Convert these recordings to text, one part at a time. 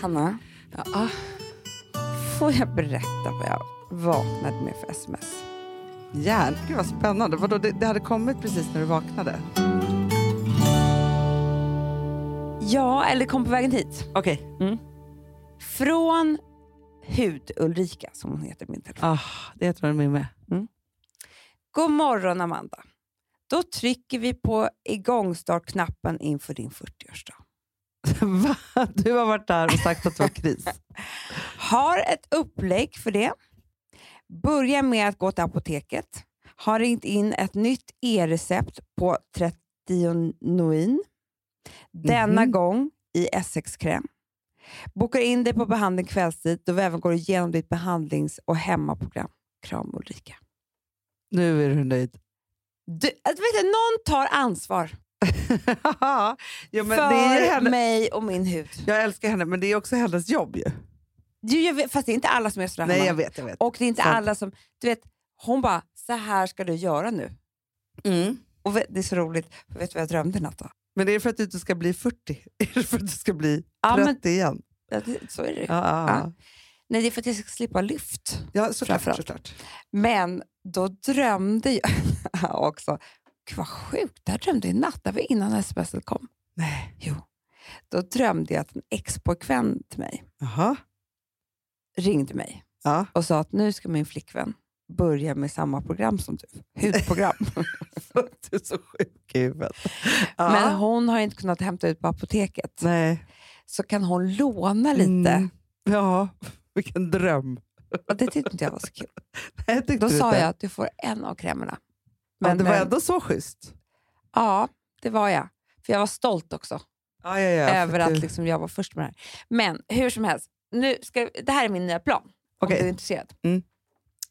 Hanna, Ah. Ja. får jag berätta vad jag vaknade med för sms? Järn. Gud vad spännande. Vadå, det, det hade kommit precis när du vaknade? Ja, eller kom på vägen hit. Okej. Från Hud-Ulrika, som hon heter i min telefon. Ah, det tror jag de är med. God morgon Amanda. Då trycker vi på igångstartknappen inför din 40-årsdag. Va? Du har varit där och sagt att det var kris. Har ett upplägg för det. Börja med att gå till apoteket. Har ringt in ett nytt e-recept på Tretinoin. Denna Mhm. gång i Essex-kräm. Bokar in dig på behandling kvällstid då vi även går igenom ditt behandlings och hemmaprogram. Kram Ulrika. Nu är du nöjd. Du, att vet du, någon tar ansvar ja, men för det är ju henne. mig och min hud. Jag älskar henne, men det är också hennes jobb ju. Du, jag vet, fast det är inte alla som är sådär. Nej, Hanna. jag vet. Jag vet. Och det är inte Sant. alla som... Du vet, hon bara, så här ska du göra nu. Mm. Och vet- det är så roligt, för vet du vad jag drömde i natt då? Men är det för att du inte ska bli 40? Är det för att du ska bli 30 Ja, men, igen? ja, det- så är det. ju. Ja, ja, ja. Nej, det är för att jag ska slippa lyft. ja såklart. Framförallt. såklart. Men då drömde jag också. Gud vad sjukt, det här drömde jag i natt. Det var innan smset kom. Nej. Jo. Då drömde jag att en expojkvän till mig Jaha. ringde mig Ja. och sa att nu ska min flickvän börja med samma program som du. Hudprogram. du är så sjuk i huvudet. Ja. Men hon har inte kunnat hämta ut på apoteket. Nej. Så kan hon låna lite. Mm. Ja, vilken dröm. Och det tyckte inte jag var så kul. Nej, tyckte Då du sa inte. jag att du får en av krämerna. Men, det var eh, ändå så schysst. Ja, det var jag. För jag var stolt också Ja, ja, ja, för över du- att liksom jag var först med det här. Men hur som helst, nu ska, det här är min nya plan. Okej. Om du är intresserad. Mm.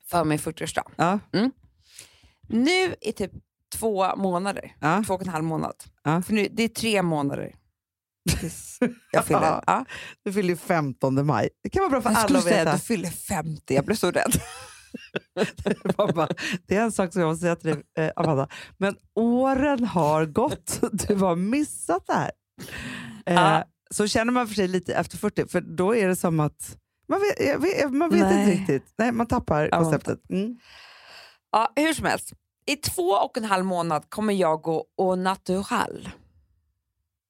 För min 40-årsdag. Ja, Nu i typ två månader, ja. två och en halv månad. Ja. För nu, det är tre månader tills jag fyller. Ja. Du fyller ju 15 maj. Det kan vara bra för Jag alla skulle att säga veta. att du fyller 50, jag blev så rädd. Mamma, det är en sak som jag måste säga till dig, eh, Amanda. Men åren har gått. Du har missat det här. Eh, Ja. Så känner man för sig lite efter 40, för då är det som att man vet, jag vet, man vet Nej. inte riktigt. Nej, man tappar Ja, man konceptet. Mm. Ja, hur som helst, i två och en halv månad kommer jag gå au natural.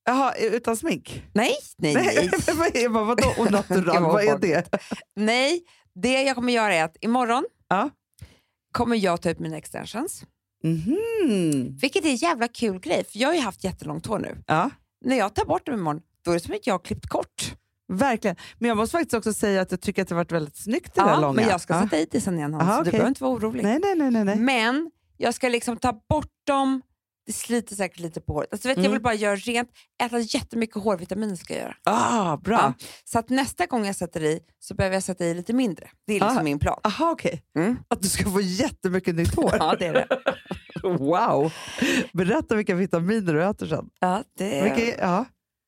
Jaha, utan smink? Nej, nej, Nej, nej. men vad är, vad, vadå och natural? Gud, vad vad är det? Nej, det jag kommer göra är att imorgon Ja. kommer jag ta ut mina extensions. Mhm. Vilket är en jävla kul grej, för jag har ju haft jättelångt hår nu. Ja, När jag tar bort dem imorgon, då är det som att jag har klippt kort. verkligen. Men jag måste faktiskt också säga att jag tycker att det har varit väldigt snyggt det där Ja, långa. men jag ska Mm. Ja. sätta i det sen igen, Hans, Aha, så du okej. behöver inte vara orolig. Nej, nej, nej. nej, nej. Men jag ska liksom ta bort dem, det sliter säkert lite på håret. Alltså, vet, du, Jag Mm. vill bara göra rent, äta jättemycket hårvitaminer ska jag göra. Ah, bra. Ja. Så att nästa gång jag sätter i så behöver jag sätta i lite mindre. Det är liksom Ah. min plan. Aha, okej. Mm. Att du ska få jättemycket nytt hår. Ja, det är det. Wow! Berätta vilka vitaminer du äter sen. Ja, det är... Vilka, ja.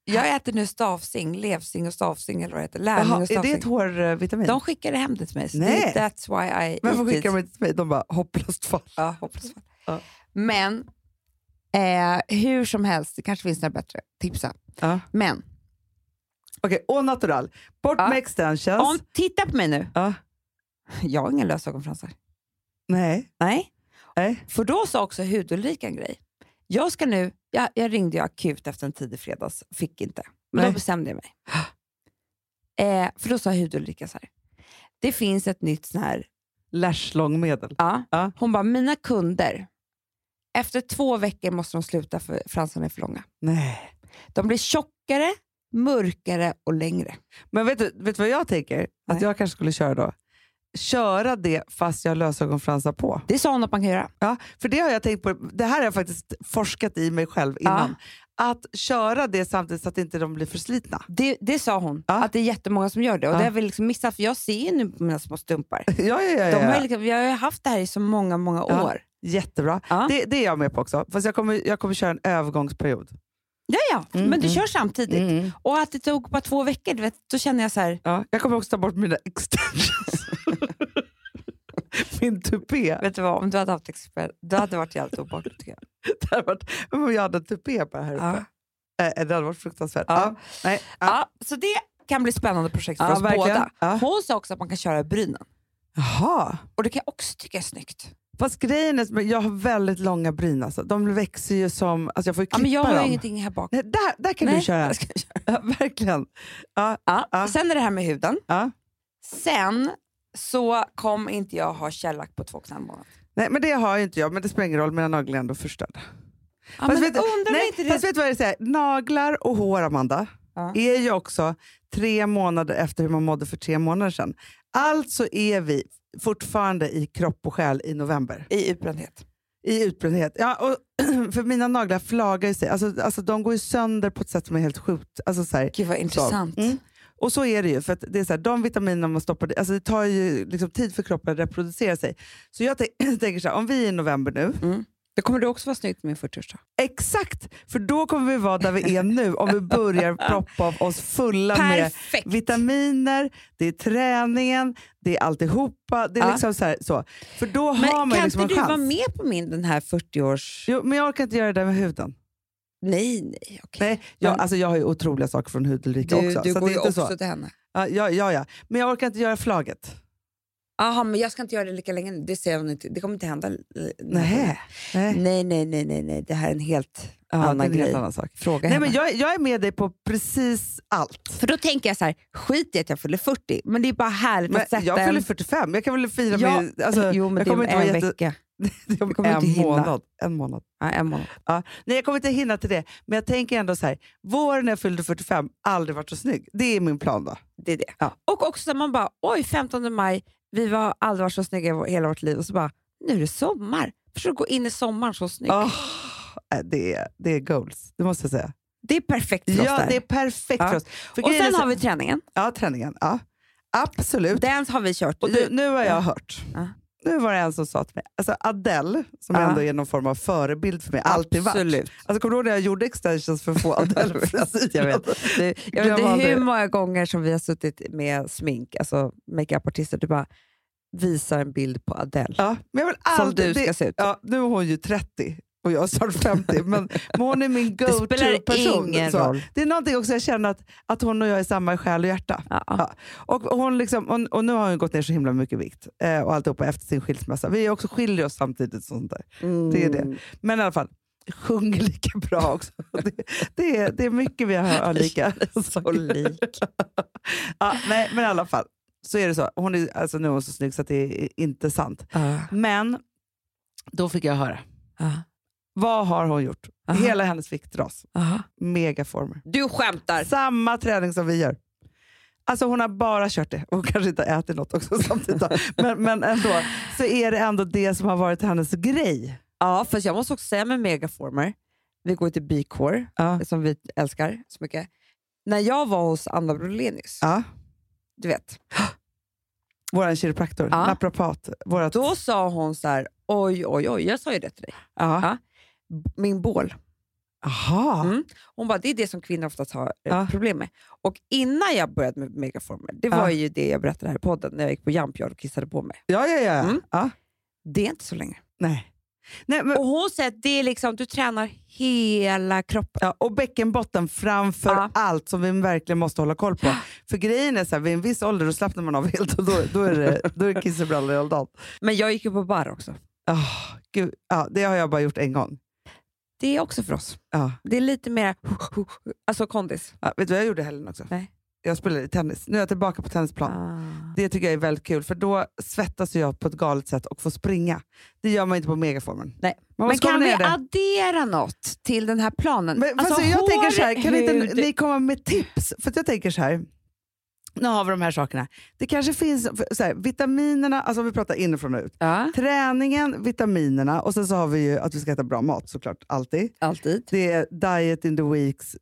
Jag äter nu stavsing, levsing och stavsing eller vad det heter. Lärling Jaha, och är det stavsing. ett hårvitamin? De skickade hem det till mig. Så Nej. det, that's why I Varför eat it. skickar de inte till mig? De bara, hopplöst fall. Ja, hoppas fan. Ja. Men eh, hur som helst, det kanske finns några bättre tips. sen. Ja. Men Okej, okay, natural. Bort Ja. med extensions. om, titta på mig nu. Ja. Jag har inga lösögonfransar. Nej. Nej. Nej. För då sa också hudulrika en grej. Jag ska nu, jag, jag ringde ju akut efter en tid i fredags, fick inte. Men Nej. då bestämde jag mig. Eh, för då sa hudulrika så här. Det finns ett nytt sån här Lashlong-medel. Ja. Ja. Hon bara, mina kunder, efter två veckor måste de sluta för fransarna är för långa. Nej. De blir tjockare, mörkare och längre. Men vet du, vet du vad jag tänker? Nej. Att jag kanske skulle köra då? Köra det fast jag har lösögonfransar på. Det sa hon att man kan göra. Ja, för det har jag tänkt på. Det här har jag faktiskt forskat i mig själv innan. Att köra det samtidigt så att inte de blir förslitna. Det, det sa hon, Ja. att det är jättemånga som gör det. Och Ja. Det har vi liksom missat, för jag ser ju nu på mina små stumpar. Ja, ja, ja, De ja. har ju liksom, jag har ju haft det här i så många, många Ja. år. Jättebra. Ja. Det, det är jag med på också. Fast jag kommer, jag kommer köra en övergångsperiod. Ja, ja. Mm, men du mm. kör samtidigt. Och att det tog bara två veckor, du vet, då känner jag så här, Ja. Jag kommer också ta bort mina extensions. Min tupé. vet du vad, om du hade haft expert, då hade det varit jävligt obehagligt. tycker jag. Det hade varit, om jag hade en tupé bara här uppe. Ja. Eh, Det hade varit fruktansvärt. Ja. Ja. Nej. Ja. Ja, så det kan bli spännande projekt för Ja, oss verkligen. båda. Ja. Hon sa också att man kan köra i brynen. Jaha. Och det kan jag också tycka är snyggt. Fast grejen är, men jag har väldigt långa bryn alltså. De växer ju som, alltså jag får ju Ja, klippa men jag har dem. ju ingenting här bak. Nej, där, där kan du Nej, köra. jag ska köra. Ja, verkligen. Ja, Ja. Ja. Sen är det här med huden. ja. Sen så kom inte jag ha källack på två och en halv månad. Nej, men det har ju inte jag, men det spelar ingen roll, mina naglar är ändå förstörda. Ja, Fast men vet du- undrar om nej, inte fast det... vet du vad det säger? Naglar och hår, Amanda, Ja. är ju också tre månader efter hur man mådde för tre månader sedan. Alltså är vi fortfarande i kropp och själ i november. I utbrändhet. I utbrändhet. Ja, och för mina naglar flagar ju sig. Alltså, alltså, de går ju sönder på ett sätt som är helt sjukt. Alltså, så här, Gud vad intressant. Så. Mm. Och så är det ju. För att det är så här, de vitaminer man stoppar, alltså det tar ju liksom tid för kroppen att reproducera sig. Så jag tän- tänker så här, om vi är i november nu, Det kommer du också vara snyggt med min 40-årsdag. exakt, för då kommer vi vara där vi är nu om vi börjar proppa av oss fulla med Perfekt! vitaminer, det är träningen, det är alltihopa. Det är Ja. liksom så här, så. För då Men har man kan ju liksom inte en du vara chans. med på min den här 40-års... Jo, men jag orkar inte göra det där med huden. Nej, nej. okej. Nej, jag, Men- alltså jag har ju otroliga saker från hudulrika Du, också. du så går det ju är inte också så. till henne. Ja, ja, ja, ja. Men jag orkar inte göra flagget. Jaha, men jag ska inte göra det lika länge. nu. Det, säger hon inte. det kommer inte hända. l- l- Nej. Nej. Nej, nej, nej, nej, nej. Det här är en helt Ja, annan det är en helt grej. annan sak. fråga. Nej, henne. men jag, jag är med dig på precis allt. För då tänker jag så här, skit i att jag fyller 40, men det är bara härligt Men att sätta jag en... fyller 45, jag kan väl fira Ja, med... Alltså, jo, men jag det kommer är inte en vara jätte- vecka. det är om Jag kommer en, inte hinna. månad. en månad. Ja, en månad. Nej, jag kommer inte hinna till det, men jag tänker ändå så här. våren när jag fyllde 45, aldrig varit så snygg. Det är min plan då. Det är det. Ja. Och också man bara, oj 15 maj, vi var aldrig varit så snygga i vår- hela vårt liv och så bara, nu är det sommar. Förstår du, gå in i sommaren så snygg. Åh, Ah, nej, det, är, det är goals, det måste jag säga. Det är perfekt för oss Ja, där. det är perfekt Ja. för oss. Ah. För Och grejen är sen så- har vi träningen. Ja, träningen. Ja. Absolut. Den har vi kört. Och du, nu har jag Ja. hört. Ja. Nu var det en som sa till mig, alltså Adele, som Ja. ändå är någon form av förebild för mig, alltid varit. Absolut. Alltså, kommer du ihåg när jag gjorde extensions för att få Adele frisyr? Jag vet. Det, jag Glöm vet inte aldrig. hur många gånger som vi har suttit med smink, alltså makeupartister, du bara visar en bild på Adele. Ja, men jag vill Som aldrig, du ska det, se ut. ja, nu är hon ju 30 och jag är snart 50, men, men hon är min Det spelar go-to-person. ingen så. roll. Det är någonting också jag känner att, att hon och jag är samma i själ och hjärta. Ja. Ja. Och, hon liksom, och, och nu har hon gått ner så himla mycket vikt eh, och alltihopa efter sin skilsmässa. Vi är också skiljer oss samtidigt. och Sånt där. Det är det. Men i alla fall, sjunger lika bra också. Det, det, är, det är mycket vi har, har lika. Så lik. Ja, nej, men i alla fall, så är det så. Hon är, alltså, nu är hon så snygg så att det är inte sant. Ja. Men då fick jag höra. Ja. Vad har hon gjort? Aha. Hela hennes viktras. Aha. Megaformer. Du skämtar! Samma träning som vi gör. Alltså hon har bara kört det. Hon kanske inte har ätit något också samtidigt. då. men, men ändå. Så är det ändå det som har varit hennes grej. Ja, fast jag måste också säga med megaformer, vi går till Bicor Ja. som vi älskar så mycket. När jag var hos Anna Brolenius, Ja. du vet, Vår kiropraktor, Ja. naprapat. Vårat, då sa hon så här, oj, oj, oj, jag sa ju det till dig, ja. Ja. min bål. Aha. Mm. Hon bara, det är det som kvinnor oftast har eh, Ja. problem med. Och innan jag började med megaformer, det var Ja. ju det jag berättade här i podden, när jag gick på Jumpyard och kissade på mig. Ja, ja, ja. Mm. ja. Det är inte så länge. Nej. Nej, men, Och hon säger att det är liksom, du tränar hela kroppen. Ja, och bäckenbotten framför Ja. allt som vi verkligen måste hålla koll på. För grejen är så här, vid en viss ålder då slappnar man av helt och då, då är det, då är det kiss och brallor hela dagen. Men jag gick ju på bar också. Ah, gud. Ja, det har jag bara gjort en gång. Det är också för oss. Ja. Det är lite mer alltså kondis. Ja, vet du vad jag gjorde i helgen också? Nej. Jag spelade tennis. Nu är jag tillbaka på tennisplan. Det tycker jag är väldigt kul för då svettas jag på ett galet sätt och får springa. Det gör man inte på megaformen. Nej. Man Men måste komma kan vi ner där. addera något till den här planen? Men, alltså, jag tänker så här, kan inte hud- ni komma med tips? För att jag tänker så här, nu har vi de här sakerna. Det kanske finns för- så här, vitaminerna, alltså om vi pratar inifrån och ut. Ja, Träningen, vitaminerna och sen så har vi ju att vi ska äta bra mat såklart, alltid. alltid. Det är diet in the weeks,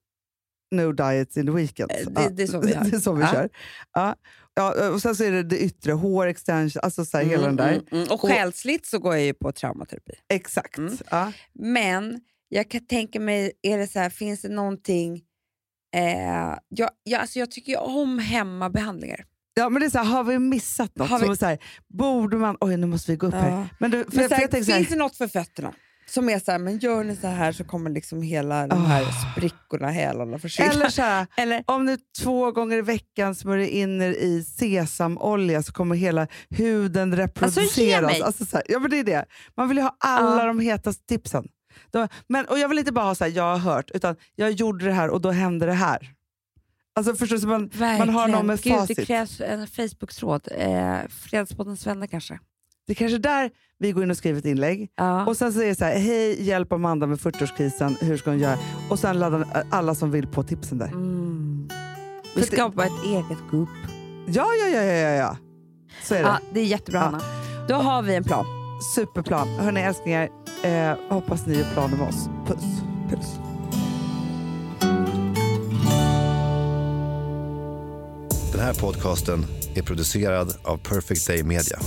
no diets in the weekends. Eh, det- Ja, det är så vi gör. det är så vi Ja. kör. Ja. Ja, och sen så är det det yttre, hår, extension, alltså så här, hela den där. Mm, mm, mm. Och Och- själsligt så går jag ju på traumaterapi. Exakt. Mm. Ja. Men jag kan tänka mig, är det så här, finns det någonting... Eh, jag, jag, alltså jag tycker ju om hemmabehandlingar. Ja, men det är så här, har vi missat något? Har vi- Som är så här, borde man, oj nu måste vi gå upp här. Ja. Men du, för, Men jag- så för här, jag tänker finns så här, det något för fötterna? Som är så här, men gör ni så här så kommer liksom hela de Ah. här sprickorna, hälarna försvinna. Eller så här, Eller- om du två gånger i veckan smörjer in er i sesamolja så kommer hela huden reproduceras. mig. Alltså så här, ja, men det är det. Man vill ju ha alla Ja. de hetaste tipsen. De, men, och jag vill inte bara ha så här, jag har hört, utan jag gjorde det här och då hände det här. Alltså förstår du? Så man, Verkligen. Man har någon med Gud, det facit. krävs en Facebook-tråd. Eh, Fredagspoddens vänner kanske. Mm. det är kanske där vi går in och skriver ett inlägg. Ja. Och sen så är det så här, hej hjälp Amanda med 40-årskrisen, hur ska hon göra? Och sen laddar alla som vill på tipsen där. mm. För Vi det- skapar ett eget grupp. Ja, ja, ja, ja, ja, ja. Så är det. Ja, det är jättebra, Ja. Anna. Då har vi en plan. Superplan. Hörni älsklingar, eh, hoppas ni är planer med oss. Puss. Puss. Den här podcasten är producerad av Perfect Day Media.